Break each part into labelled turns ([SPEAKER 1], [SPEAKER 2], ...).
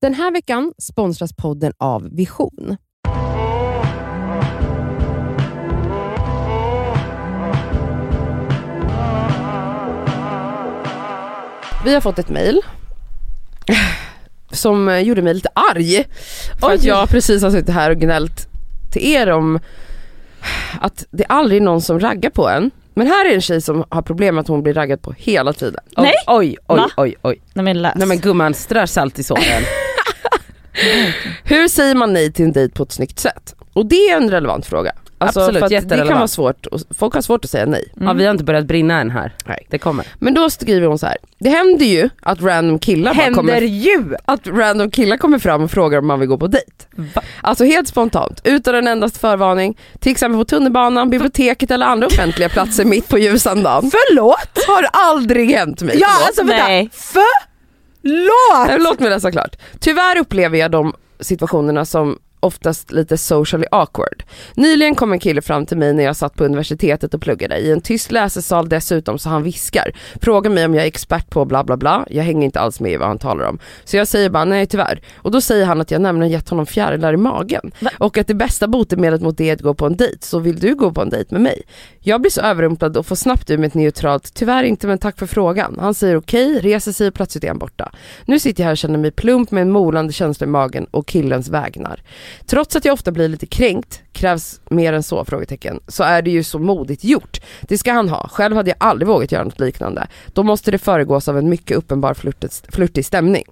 [SPEAKER 1] Den här veckan sponsras podden av Vision. Vi har fått ett mejl som gjorde mig lite arg. För att
[SPEAKER 2] Oj.
[SPEAKER 1] jag precis har suttit här och gnällt till er om att det är aldrig någon som raggar på en. Men här är en tjej som har problem med att hon blir raggad på hela tiden. Oj,
[SPEAKER 2] Nej.
[SPEAKER 1] Oj, oj,
[SPEAKER 2] Va?
[SPEAKER 1] oj, oj.
[SPEAKER 2] Nej men läs.
[SPEAKER 3] Nej
[SPEAKER 2] Mm.
[SPEAKER 3] men gumman, strö salt i såren.
[SPEAKER 1] Hur säger man nej till en dejt på ett snyggt sätt? Och det är en relevant fråga. Alltså,
[SPEAKER 3] Absolut,
[SPEAKER 1] för att Det kan
[SPEAKER 3] jätterelevant.
[SPEAKER 1] vara svårt, och folk har svårt att säga nej.
[SPEAKER 3] ja, vi har inte börjat brinna än här.
[SPEAKER 1] Nej.
[SPEAKER 3] Det kommer.
[SPEAKER 1] Men då skriver hon så här. det händer ju att random killar, bara kommer,
[SPEAKER 2] ju!
[SPEAKER 1] att random killar kommer fram och frågar om man vill gå på dejt. Alltså helt spontant, utan en endast förvarning, till exempel på tunnelbanan, biblioteket eller andra offentliga platser mitt på ljusan dagen.
[SPEAKER 2] Förlåt!
[SPEAKER 1] Har aldrig hänt mig.
[SPEAKER 2] Ja
[SPEAKER 1] Förlåt.
[SPEAKER 2] alltså vänta,
[SPEAKER 3] Nej.
[SPEAKER 2] förlåt!
[SPEAKER 1] Nej, men Låt mig läsa klart. Tyvärr upplever jag de situationerna som oftast lite socially awkward. Nyligen kom en kille fram till mig när jag satt på universitetet och pluggade i en tyst läsesal dessutom så han viskar. Frågar mig om jag är expert på bla bla bla. Jag hänger inte alls med i vad han talar om. Så jag säger bara nej tyvärr. Och då säger han att jag nämligen gett honom fjärilar i magen.
[SPEAKER 2] Va?
[SPEAKER 1] Och att det bästa botemedlet mot det är att gå på en dejt. Så vill du gå på en dejt med mig? Jag blir så överrumplad och får snabbt ur mig ett neutralt “tyvärr inte men tack för frågan”. Han säger okej, reser sig och plötsligt är han borta. Nu sitter jag här och känner mig plump med en molande känsla i magen och killens vägnar. Trots att jag ofta blir lite kränkt, krävs mer än så? frågetecken. Så är det ju så modigt gjort. Det ska han ha. Själv hade jag aldrig vågat göra något liknande. Då måste det föregås av en mycket uppenbar flirtet- flirtig stämning.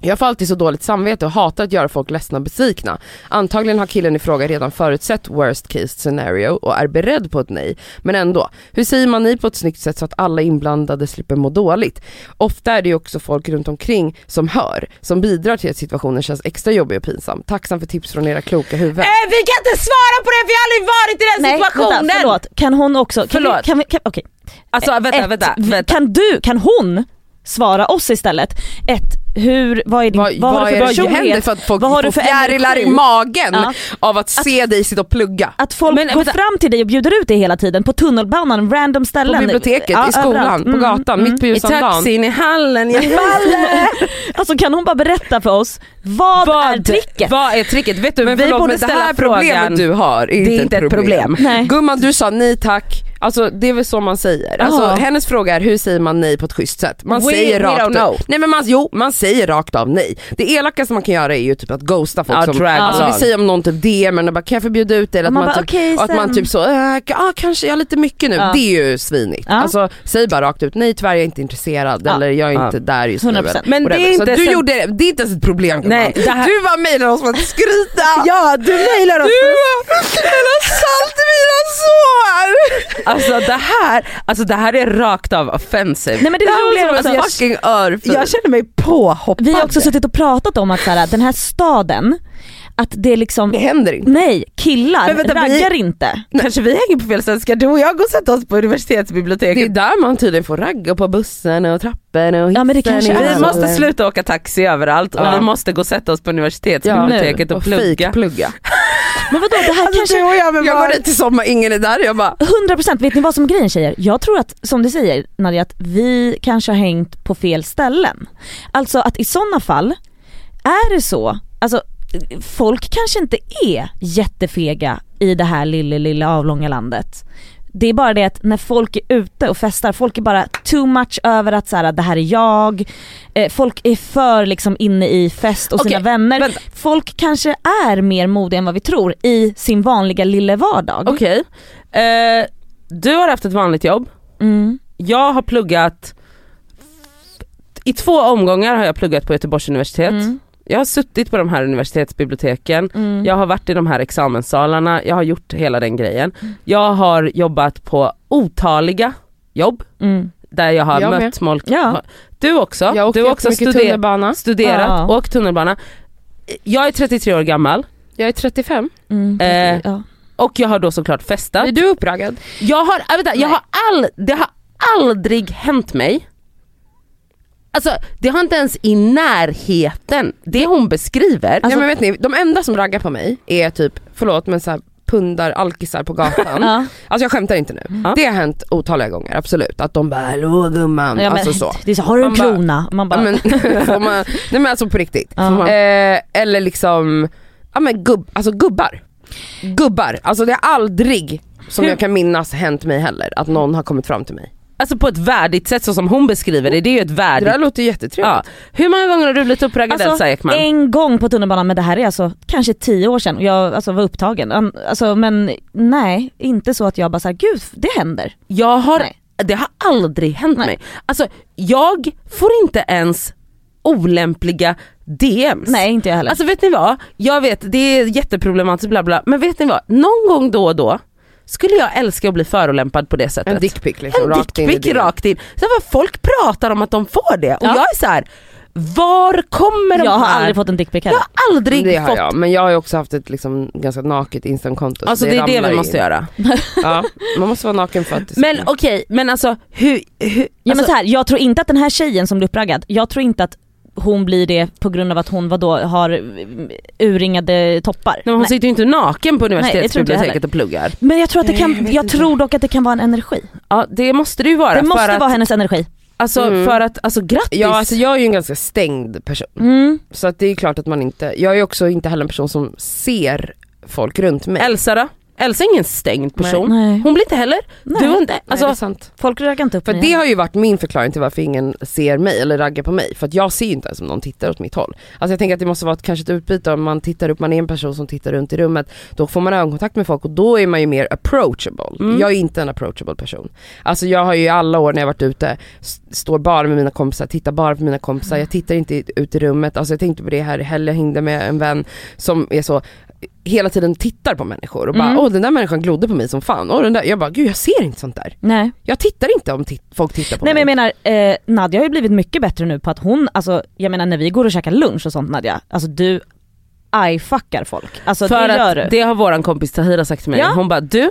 [SPEAKER 1] Jag får alltid så dåligt samvete och hatar att göra folk ledsna och besvikna. Antagligen har killen i fråga redan förutsett worst case scenario och är beredd på ett nej. Men ändå, hur säger man nej på ett snyggt sätt så att alla inblandade slipper må dåligt? Ofta är det ju också folk runt omkring som hör, som bidrar till att situationen känns extra jobbig och pinsam. Tacksam för tips från era kloka huvuden.
[SPEAKER 3] Eh, vi kan inte svara på det för jag har aldrig varit i den
[SPEAKER 2] Nej
[SPEAKER 3] situationen!
[SPEAKER 2] vänta, förlåt. Kan hon också, kan
[SPEAKER 3] Förlåt.
[SPEAKER 2] vi, kan vi, kan, okej.
[SPEAKER 3] Alltså vänta,
[SPEAKER 2] Ett,
[SPEAKER 3] vänta,
[SPEAKER 2] vi-
[SPEAKER 3] vänta.
[SPEAKER 2] Kan du, kan hon svara oss istället? Ett, hur, vad är din,
[SPEAKER 1] Vad, vad,
[SPEAKER 2] har du
[SPEAKER 1] är
[SPEAKER 2] för
[SPEAKER 1] det som händer
[SPEAKER 2] personlighet?
[SPEAKER 1] för att folk
[SPEAKER 2] Vad har du
[SPEAKER 1] får
[SPEAKER 2] för
[SPEAKER 1] fjärilar i
[SPEAKER 2] energi?
[SPEAKER 1] magen
[SPEAKER 2] Ja.
[SPEAKER 1] av att se dig sitta och plugga?
[SPEAKER 2] Att folk
[SPEAKER 3] Men,
[SPEAKER 2] går
[SPEAKER 3] vänta.
[SPEAKER 2] fram till dig och bjuder ut dig hela tiden på tunnelbanan, random
[SPEAKER 1] På
[SPEAKER 2] ställen.
[SPEAKER 1] biblioteket,
[SPEAKER 2] Ja,
[SPEAKER 1] i skolan,
[SPEAKER 2] överallt.
[SPEAKER 1] på
[SPEAKER 2] Mm,
[SPEAKER 1] gatan,
[SPEAKER 2] mm.
[SPEAKER 1] mitt på
[SPEAKER 3] I
[SPEAKER 1] ljusan dagen.
[SPEAKER 3] taxin, i hallen, i hallen!
[SPEAKER 2] Alltså kan hon bara berätta för oss, vad, är tricket?
[SPEAKER 3] Vad är tricket? Vet du,
[SPEAKER 1] Men
[SPEAKER 3] vi
[SPEAKER 1] förlåt,
[SPEAKER 3] borde
[SPEAKER 1] men det
[SPEAKER 3] ställa
[SPEAKER 1] här
[SPEAKER 3] frågan.
[SPEAKER 1] problemet du har är
[SPEAKER 3] det är inte ett problem.
[SPEAKER 2] Nej.
[SPEAKER 1] Gumman du sa nej tack, alltså det är väl så man säger. Alltså,
[SPEAKER 2] Ja.
[SPEAKER 1] hennes fråga är hur säger man nej på ett schysst sätt? Man
[SPEAKER 3] We-
[SPEAKER 1] säger
[SPEAKER 3] we
[SPEAKER 1] rakt
[SPEAKER 3] don't
[SPEAKER 1] av.
[SPEAKER 3] know.
[SPEAKER 1] Nej men man, jo, man säger rakt av nej. Det elakaste man kan göra är ju typ att ghosta folk
[SPEAKER 3] Ja,
[SPEAKER 1] som,
[SPEAKER 3] drag
[SPEAKER 1] alltså vi
[SPEAKER 3] along.
[SPEAKER 1] säger om någon typ DM och bara kan jag förbjuda ut dig? Eller att
[SPEAKER 2] Man
[SPEAKER 1] man,
[SPEAKER 2] bara,
[SPEAKER 1] typ,
[SPEAKER 2] "Okej,
[SPEAKER 1] och att man
[SPEAKER 2] sen."
[SPEAKER 1] typ så, äh, ah, kanske jag har lite mycket nu.
[SPEAKER 2] Ja.
[SPEAKER 1] Det är ju svinigt.
[SPEAKER 2] Ja.
[SPEAKER 1] Alltså säg bara rakt ut, nej tyvärr jag är inte intresserad
[SPEAKER 2] Ja.
[SPEAKER 1] eller jag är
[SPEAKER 3] Ja.
[SPEAKER 1] inte där just nu.
[SPEAKER 2] 100%.
[SPEAKER 1] Eller,
[SPEAKER 3] Men det
[SPEAKER 1] whatever.
[SPEAKER 3] är
[SPEAKER 1] så
[SPEAKER 3] inte
[SPEAKER 1] du
[SPEAKER 3] sen-
[SPEAKER 1] gjorde, det är inte ens ett problem gumman.
[SPEAKER 3] Nej, det här-
[SPEAKER 1] Du bara mejlade oss för att skryta.
[SPEAKER 3] Ja, du mejlar oss.
[SPEAKER 1] Hela salt i mina sår!
[SPEAKER 3] Alltså det här, alltså det här är rakt av offensive.
[SPEAKER 2] Nej men det
[SPEAKER 1] Det här
[SPEAKER 2] roliga är
[SPEAKER 1] var
[SPEAKER 2] också,
[SPEAKER 1] som en Alltså, fucking örfil.
[SPEAKER 3] Alltså, jag känner mig påhoppad.
[SPEAKER 2] vi har också suttit och pratat om att så här, den här staden, att det är liksom,
[SPEAKER 1] Det händer inte.
[SPEAKER 2] nej killar
[SPEAKER 3] Men vänta, vi-
[SPEAKER 2] raggar inte.
[SPEAKER 3] Kanske vi hänger på fel ställe, ska du och jag gå och sätta oss på
[SPEAKER 1] Det är
[SPEAKER 3] universitetsbiblioteket?
[SPEAKER 1] där man tydligen får ragga på bussen och trapporna och
[SPEAKER 2] Ja, men det
[SPEAKER 1] hissen
[SPEAKER 2] kanske
[SPEAKER 1] i
[SPEAKER 2] är
[SPEAKER 3] Vi
[SPEAKER 2] Ja.
[SPEAKER 1] hallen.
[SPEAKER 3] måste sluta åka taxi överallt och
[SPEAKER 1] Ja.
[SPEAKER 3] vi måste gå och sätta oss på
[SPEAKER 1] Ja.
[SPEAKER 3] universitetsbiblioteket och plugga.
[SPEAKER 1] fejkplugga.
[SPEAKER 2] Men vadå det här kanske,
[SPEAKER 3] och jag med
[SPEAKER 1] Jag går dit i sommar, ingen är där. Jag bara,
[SPEAKER 2] 100% vet ni vad som är grejen tjejer? Jag tror att, som du säger Nadia, att vi kanske har hängt på fel ställen. Alltså att i sådana fall, är det så, alltså folk kanske inte är jättefega i det här lilla lilla avlånga landet. Det är bara det att när folk är ute och festar, folk är bara too much över att så här, det här är jag, Eh, folk är för liksom inne i fest och sina
[SPEAKER 3] Okej,
[SPEAKER 2] vänner.
[SPEAKER 3] vänta.
[SPEAKER 2] Folk kanske är mer modiga än vad vi tror i sin vanliga lilla vardag.
[SPEAKER 3] Okej, Eh, du har haft ett vanligt jobb,
[SPEAKER 2] Mm.
[SPEAKER 3] jag har pluggat i två omgångar har jag pluggat på Göteborgs universitet.
[SPEAKER 2] Mm.
[SPEAKER 3] Jag har suttit på de här universitetsbiblioteken,
[SPEAKER 2] Mm.
[SPEAKER 3] jag har varit i de här examenssalarna, jag har gjort hela den grejen. Jag har jobbat på otaliga jobb
[SPEAKER 2] Mm.
[SPEAKER 3] där jag har
[SPEAKER 1] Jag med.
[SPEAKER 3] mött folk.
[SPEAKER 2] Ja.
[SPEAKER 3] Du också,
[SPEAKER 1] jag har åkt
[SPEAKER 3] du har också
[SPEAKER 1] jättemycket
[SPEAKER 3] studer-
[SPEAKER 1] tunnelbana.
[SPEAKER 3] studerat,
[SPEAKER 2] Ja.
[SPEAKER 3] åkt tunnelbana. Jag är 33 år gammal
[SPEAKER 1] Jag är 35.
[SPEAKER 2] Mm.
[SPEAKER 3] Eh,
[SPEAKER 2] ja.
[SPEAKER 3] och jag har då såklart festat.
[SPEAKER 1] Är du uppraggad?
[SPEAKER 3] Jag har, äh, vänta, jag
[SPEAKER 2] Nej.
[SPEAKER 3] har all, det har aldrig hänt mig. Alltså det har inte ens i närheten, det hon beskriver. Alltså,
[SPEAKER 1] Nej men vet ni, de enda som raggar på mig är typ, förlåt men så här, pundar alkisar på gatan.
[SPEAKER 2] Ja.
[SPEAKER 1] Alltså jag skämtar inte nu.
[SPEAKER 3] Ja.
[SPEAKER 1] Det har hänt otaliga gånger, absolut. Att de bara “hallå gumman”,
[SPEAKER 2] Ja, men,
[SPEAKER 1] alltså så.
[SPEAKER 2] Det är så, har du en
[SPEAKER 1] Man bara-
[SPEAKER 2] krona? Man
[SPEAKER 1] Ja,
[SPEAKER 2] bara,
[SPEAKER 1] men, får man, nej men alltså på riktigt.
[SPEAKER 2] Ja.
[SPEAKER 1] Eh, eller liksom, ja men gubb, alltså gubbar. Gubbar, alltså det har aldrig som jag kan minnas hänt mig heller att någon har kommit fram till mig.
[SPEAKER 3] Alltså på ett värdigt sätt så som hon beskriver det, det är ju ett
[SPEAKER 1] Det
[SPEAKER 3] värdigt...
[SPEAKER 1] där låter
[SPEAKER 3] Ja.
[SPEAKER 1] jättetrevligt.
[SPEAKER 3] Hur många gånger har du blivit uppraggad
[SPEAKER 2] Alltså,
[SPEAKER 3] Elsa Ekman?
[SPEAKER 2] en gång på tunnelbanan men det här är alltså kanske tio år sedan och jag alltså, var upptagen. Um, Alltså, men nej, inte så att jag bara såhär, gud det händer.
[SPEAKER 3] Jag har,
[SPEAKER 2] Nej.
[SPEAKER 3] det har aldrig hänt
[SPEAKER 2] Nej.
[SPEAKER 3] mig. Alltså jag får inte ens olämpliga DMs.
[SPEAKER 2] Nej inte jag heller.
[SPEAKER 3] Alltså vet ni vad, jag vet det är jätteproblematiskt bla bla men vet ni vad, någon gång då och då skulle jag älska att bli förolämpad på det sättet.
[SPEAKER 1] En dickpic liksom,
[SPEAKER 3] En
[SPEAKER 1] rakt in i
[SPEAKER 3] dickpic
[SPEAKER 1] det.
[SPEAKER 3] rakt in. Så vad folk pratar om att de får det och
[SPEAKER 2] Ja.
[SPEAKER 3] jag är så här. var kommer de
[SPEAKER 2] jag har
[SPEAKER 3] här?
[SPEAKER 2] aldrig fått en dickpic
[SPEAKER 3] jag
[SPEAKER 2] heller.
[SPEAKER 3] har aldrig
[SPEAKER 1] Det har
[SPEAKER 3] fått.
[SPEAKER 1] jag, men jag har ju också haft ett liksom ganska naket instantkonto. så
[SPEAKER 3] Alltså det, är det
[SPEAKER 1] ramlar
[SPEAKER 3] vi måste
[SPEAKER 1] in.
[SPEAKER 3] göra.
[SPEAKER 1] Ja, man måste vara naken för att det ska-
[SPEAKER 3] Men okej, men alltså hur, hur
[SPEAKER 2] Ja, men
[SPEAKER 3] alltså,
[SPEAKER 2] så här, jag tror inte att den här tjejen som blir uppraggad, jag tror inte att hon blir det på grund av att hon vadå, har mm, urringade toppar.
[SPEAKER 3] nej, hon
[SPEAKER 2] Nej.
[SPEAKER 3] sitter ju inte naken på
[SPEAKER 2] det tror inte jag
[SPEAKER 3] universitetsbiblioteket
[SPEAKER 2] heller.
[SPEAKER 3] och pluggar.
[SPEAKER 2] Men jag tror, att det
[SPEAKER 1] Nej, jag
[SPEAKER 2] kan,
[SPEAKER 1] vet
[SPEAKER 2] jag
[SPEAKER 1] inte.
[SPEAKER 2] tror dock att det kan vara en energi.
[SPEAKER 3] Ja det måste det ju vara.
[SPEAKER 2] Det måste
[SPEAKER 3] för, att,
[SPEAKER 2] vara hennes energi.
[SPEAKER 3] alltså,
[SPEAKER 1] Mm.
[SPEAKER 3] för att, alltså grattis.
[SPEAKER 1] Ja alltså jag är ju en ganska stängd person.
[SPEAKER 2] Mm.
[SPEAKER 1] Så att det är klart att man inte, jag är också inte heller en person som ser folk runt mig.
[SPEAKER 3] Elsa då? Elsa är ingen stängd person.
[SPEAKER 2] Nej.
[SPEAKER 3] Hon blir inte heller,
[SPEAKER 2] Nej.
[SPEAKER 3] du har inte, alltså
[SPEAKER 1] Nej, det är sant.
[SPEAKER 2] Folk raggar inte upp
[SPEAKER 1] För
[SPEAKER 2] mig.
[SPEAKER 1] det har ju varit min förklaring till varför ingen ser mig eller raggar på mig. För att jag ser ju inte ens om någon tittar åt mitt håll. Alltså jag tänker att det måste vara ett, kanske ett utbyte om man tittar upp, man är en person som tittar runt i rummet. Då får man ögonkontakt med folk och då är man ju mer approachable.
[SPEAKER 3] Mm.
[SPEAKER 1] Jag är inte en approachable person. Alltså jag har ju i alla år när jag varit ute, s- står bara med mina kompisar, tittar bara på mina kompisar. Jag tittar inte i- ut i rummet. Alltså jag tänkte på det här i helgen, jag hängde med en vän som är så hela tiden tittar på människor och bara
[SPEAKER 2] Mm.
[SPEAKER 1] åh den där människan glodde på mig som fan. Åh, den där. Jag bara gud jag ser inte sånt där.
[SPEAKER 2] Nej.
[SPEAKER 1] Jag tittar inte om tit- folk tittar på
[SPEAKER 2] Nej men
[SPEAKER 1] mig.
[SPEAKER 2] jag menar, eh, Nadja har ju blivit mycket bättre nu på att hon, alltså jag menar när vi går och käkar lunch och sånt Nadja, alltså du eye-fuckar folk. Alltså
[SPEAKER 3] för
[SPEAKER 2] det gör du.
[SPEAKER 3] att det har våran kompis Tahira sagt till mig.
[SPEAKER 2] Ja.
[SPEAKER 3] Hon bara du,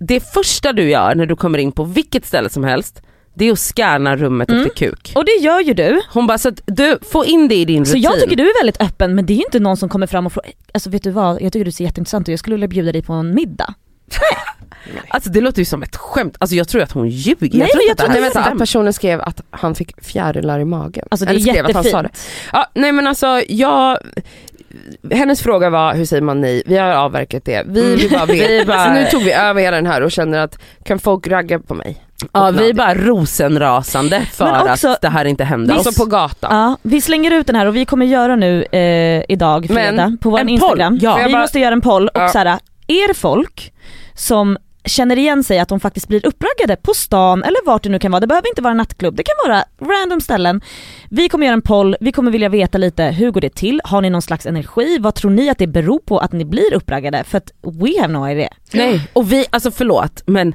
[SPEAKER 3] det första du gör när du kommer in på vilket ställe som helst det är att scanna rummet
[SPEAKER 2] Mm.
[SPEAKER 3] efter kuk.
[SPEAKER 2] Och det gör ju du.
[SPEAKER 3] Hon bara så att du, få in det i din
[SPEAKER 2] Så
[SPEAKER 3] rutin.
[SPEAKER 2] jag tycker du är väldigt öppen men det är ju inte någon som kommer fram och frågar, alltså vet du vad, jag tycker du ser jätteintressant ut, jag skulle vilja bjuda dig på en middag.
[SPEAKER 3] Alltså det låter ju som ett skämt, alltså jag tror att hon ljuger.
[SPEAKER 2] Nej, men
[SPEAKER 3] inte
[SPEAKER 2] jag
[SPEAKER 3] att det här
[SPEAKER 2] tror
[SPEAKER 1] Nej vänta, att
[SPEAKER 3] stämmer.
[SPEAKER 1] personen skrev att han fick fjärilar i magen.
[SPEAKER 2] Alltså det är
[SPEAKER 1] Eller skrev att han sa
[SPEAKER 2] jättefint.
[SPEAKER 1] det. Ja, nej men alltså jag, hennes fråga var hur säger man nej? Vi har avverkat det.
[SPEAKER 2] Mm.
[SPEAKER 1] Vi vill bara veta.
[SPEAKER 3] Vi bara-
[SPEAKER 1] Så nu tog vi över hela den här och känner att kan folk ragga på mig?
[SPEAKER 3] Ja vi är bara rosenrasande för
[SPEAKER 2] Men också-
[SPEAKER 3] att det här inte händer
[SPEAKER 1] Alltså på gatan.
[SPEAKER 2] Ja, vi slänger ut den här och vi kommer göra nu eh, idag
[SPEAKER 1] Men,
[SPEAKER 2] fredag på vår
[SPEAKER 3] en
[SPEAKER 2] Instagram.
[SPEAKER 3] poll, ja.
[SPEAKER 2] Vi
[SPEAKER 1] Jag bara-
[SPEAKER 2] måste göra en poll och
[SPEAKER 1] Ja.
[SPEAKER 2] så här, är det folk som känner igen sig att de faktiskt blir uppraggade på stan eller vart det nu kan vara. Det behöver inte vara en nattklubb, det kan vara random ställen. Vi kommer göra en poll, vi kommer vilja veta lite hur går det till? Har ni någon slags energi? Vad tror ni att det beror på att ni blir uppraggade? För att we have no idea.
[SPEAKER 3] Nej och vi, alltså förlåt men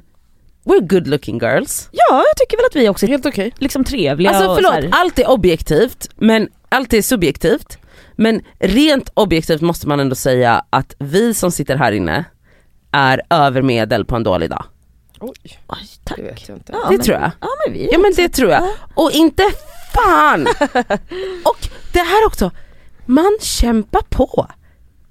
[SPEAKER 3] we're good looking girls.
[SPEAKER 2] Ja, jag tycker väl att vi också är
[SPEAKER 1] Helt okej.
[SPEAKER 2] liksom trevliga
[SPEAKER 3] Alltså
[SPEAKER 2] och så här.
[SPEAKER 3] förlåt, allt är objektivt men allt är subjektivt. Men rent objektivt måste man ändå säga att vi som sitter här inne är övermedel på en dålig dag.
[SPEAKER 1] Oj,
[SPEAKER 2] Oj,
[SPEAKER 1] det
[SPEAKER 2] tack.
[SPEAKER 1] vet jag inte.
[SPEAKER 2] Ja,
[SPEAKER 3] Ah, Det
[SPEAKER 2] men-
[SPEAKER 3] tror jag.
[SPEAKER 2] Ja men vi
[SPEAKER 3] Ja men det tror jag.
[SPEAKER 2] Ja.
[SPEAKER 3] Och inte fan! Och det här också, man kämpar på.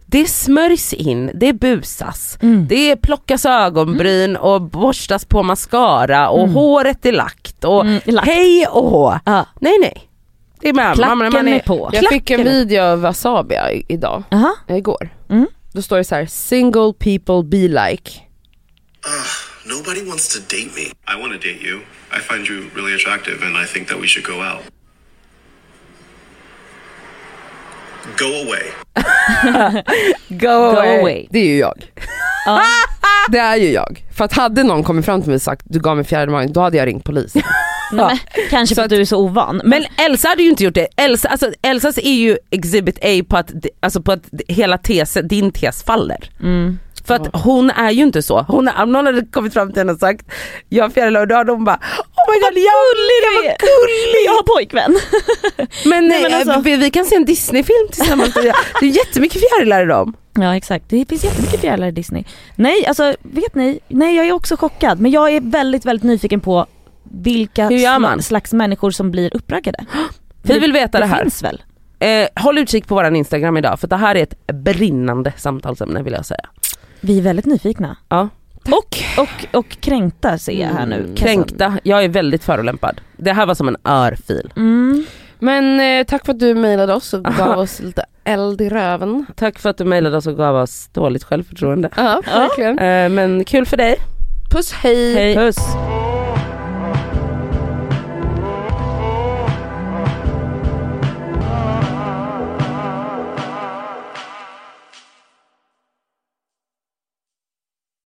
[SPEAKER 3] Det smörjs in, det busas,
[SPEAKER 2] Mm.
[SPEAKER 3] det plockas ögonbryn och borstas på mascara och
[SPEAKER 2] Mm.
[SPEAKER 3] håret är lagt och
[SPEAKER 2] Mm, lack.
[SPEAKER 3] hej och hå.
[SPEAKER 2] Ja.
[SPEAKER 3] Nej nej. Det är med
[SPEAKER 2] Klacken
[SPEAKER 3] man, man
[SPEAKER 2] är,
[SPEAKER 3] är,
[SPEAKER 2] på.
[SPEAKER 1] Jag fick en
[SPEAKER 3] Klacken.
[SPEAKER 1] video av Wasabia i- idag,
[SPEAKER 2] Aha.
[SPEAKER 1] eh, igår.
[SPEAKER 2] Mm.
[SPEAKER 1] Då står det så här: single people be like.
[SPEAKER 4] Nobody wants to date me. I want to date you. I find you really attractive, and I think that we should go out. Go away.
[SPEAKER 3] Go
[SPEAKER 2] Go
[SPEAKER 3] away.
[SPEAKER 2] away.
[SPEAKER 1] Det är ju jag.
[SPEAKER 2] Ja.
[SPEAKER 1] Det är ju jag. För att hade någon kommit fram till mig och sagt du gav mig fjärde magen, då hade jag ringt polisen.
[SPEAKER 2] Nej, men, kanske för
[SPEAKER 1] Så
[SPEAKER 2] att,
[SPEAKER 1] att-
[SPEAKER 2] du är så ovan. Men,
[SPEAKER 3] Men Elsa hade ju inte gjort det. Elsa, alltså, Elsas är ju exhibit A på att, alltså på att hela tesen, din tes faller.
[SPEAKER 2] Mm.
[SPEAKER 3] För att hon är ju inte så. Hon, om någon hade kommit fram till henne och sagt jag har fjärilar och då hade hon bara oh my god jag, jag
[SPEAKER 2] du
[SPEAKER 3] var
[SPEAKER 2] är."
[SPEAKER 3] gullig.
[SPEAKER 2] jag har pojkvän.
[SPEAKER 3] Men,
[SPEAKER 2] Nej, men
[SPEAKER 3] eh,
[SPEAKER 2] alltså-
[SPEAKER 3] vi, vi kan se en Disney-film tillsammans. det är jättemycket fjärilar i dem.
[SPEAKER 2] Ja exakt, det finns jättemycket fjärilar i Disney. Nej alltså vet ni, nej jag är också chockad men jag är väldigt väldigt nyfiken på vilka
[SPEAKER 3] Hur gör
[SPEAKER 2] sla-
[SPEAKER 3] man?
[SPEAKER 2] slags människor som blir uppraggade.
[SPEAKER 3] Vi vill veta det här.
[SPEAKER 2] finns väl?
[SPEAKER 3] Eh, håll utkik på våran Instagram idag för det här är ett brinnande samtalsämne vill jag säga.
[SPEAKER 2] Vi är väldigt nyfikna.
[SPEAKER 3] Ja.
[SPEAKER 2] Och, och, och kränkta ser jag här nu. Kassan.
[SPEAKER 3] Mm. Kränkta, jag är väldigt förolämpad. Det här var som en örfil.
[SPEAKER 2] Mm.
[SPEAKER 1] Men eh, tack för att du mejlade oss och gav oss lite eld i röven.
[SPEAKER 3] Tack för att du mejlade oss och gav oss dåligt självförtroende.
[SPEAKER 1] Ja, verkligen.
[SPEAKER 3] Eh, Men kul för dig.
[SPEAKER 1] Puss hej.
[SPEAKER 3] Puss.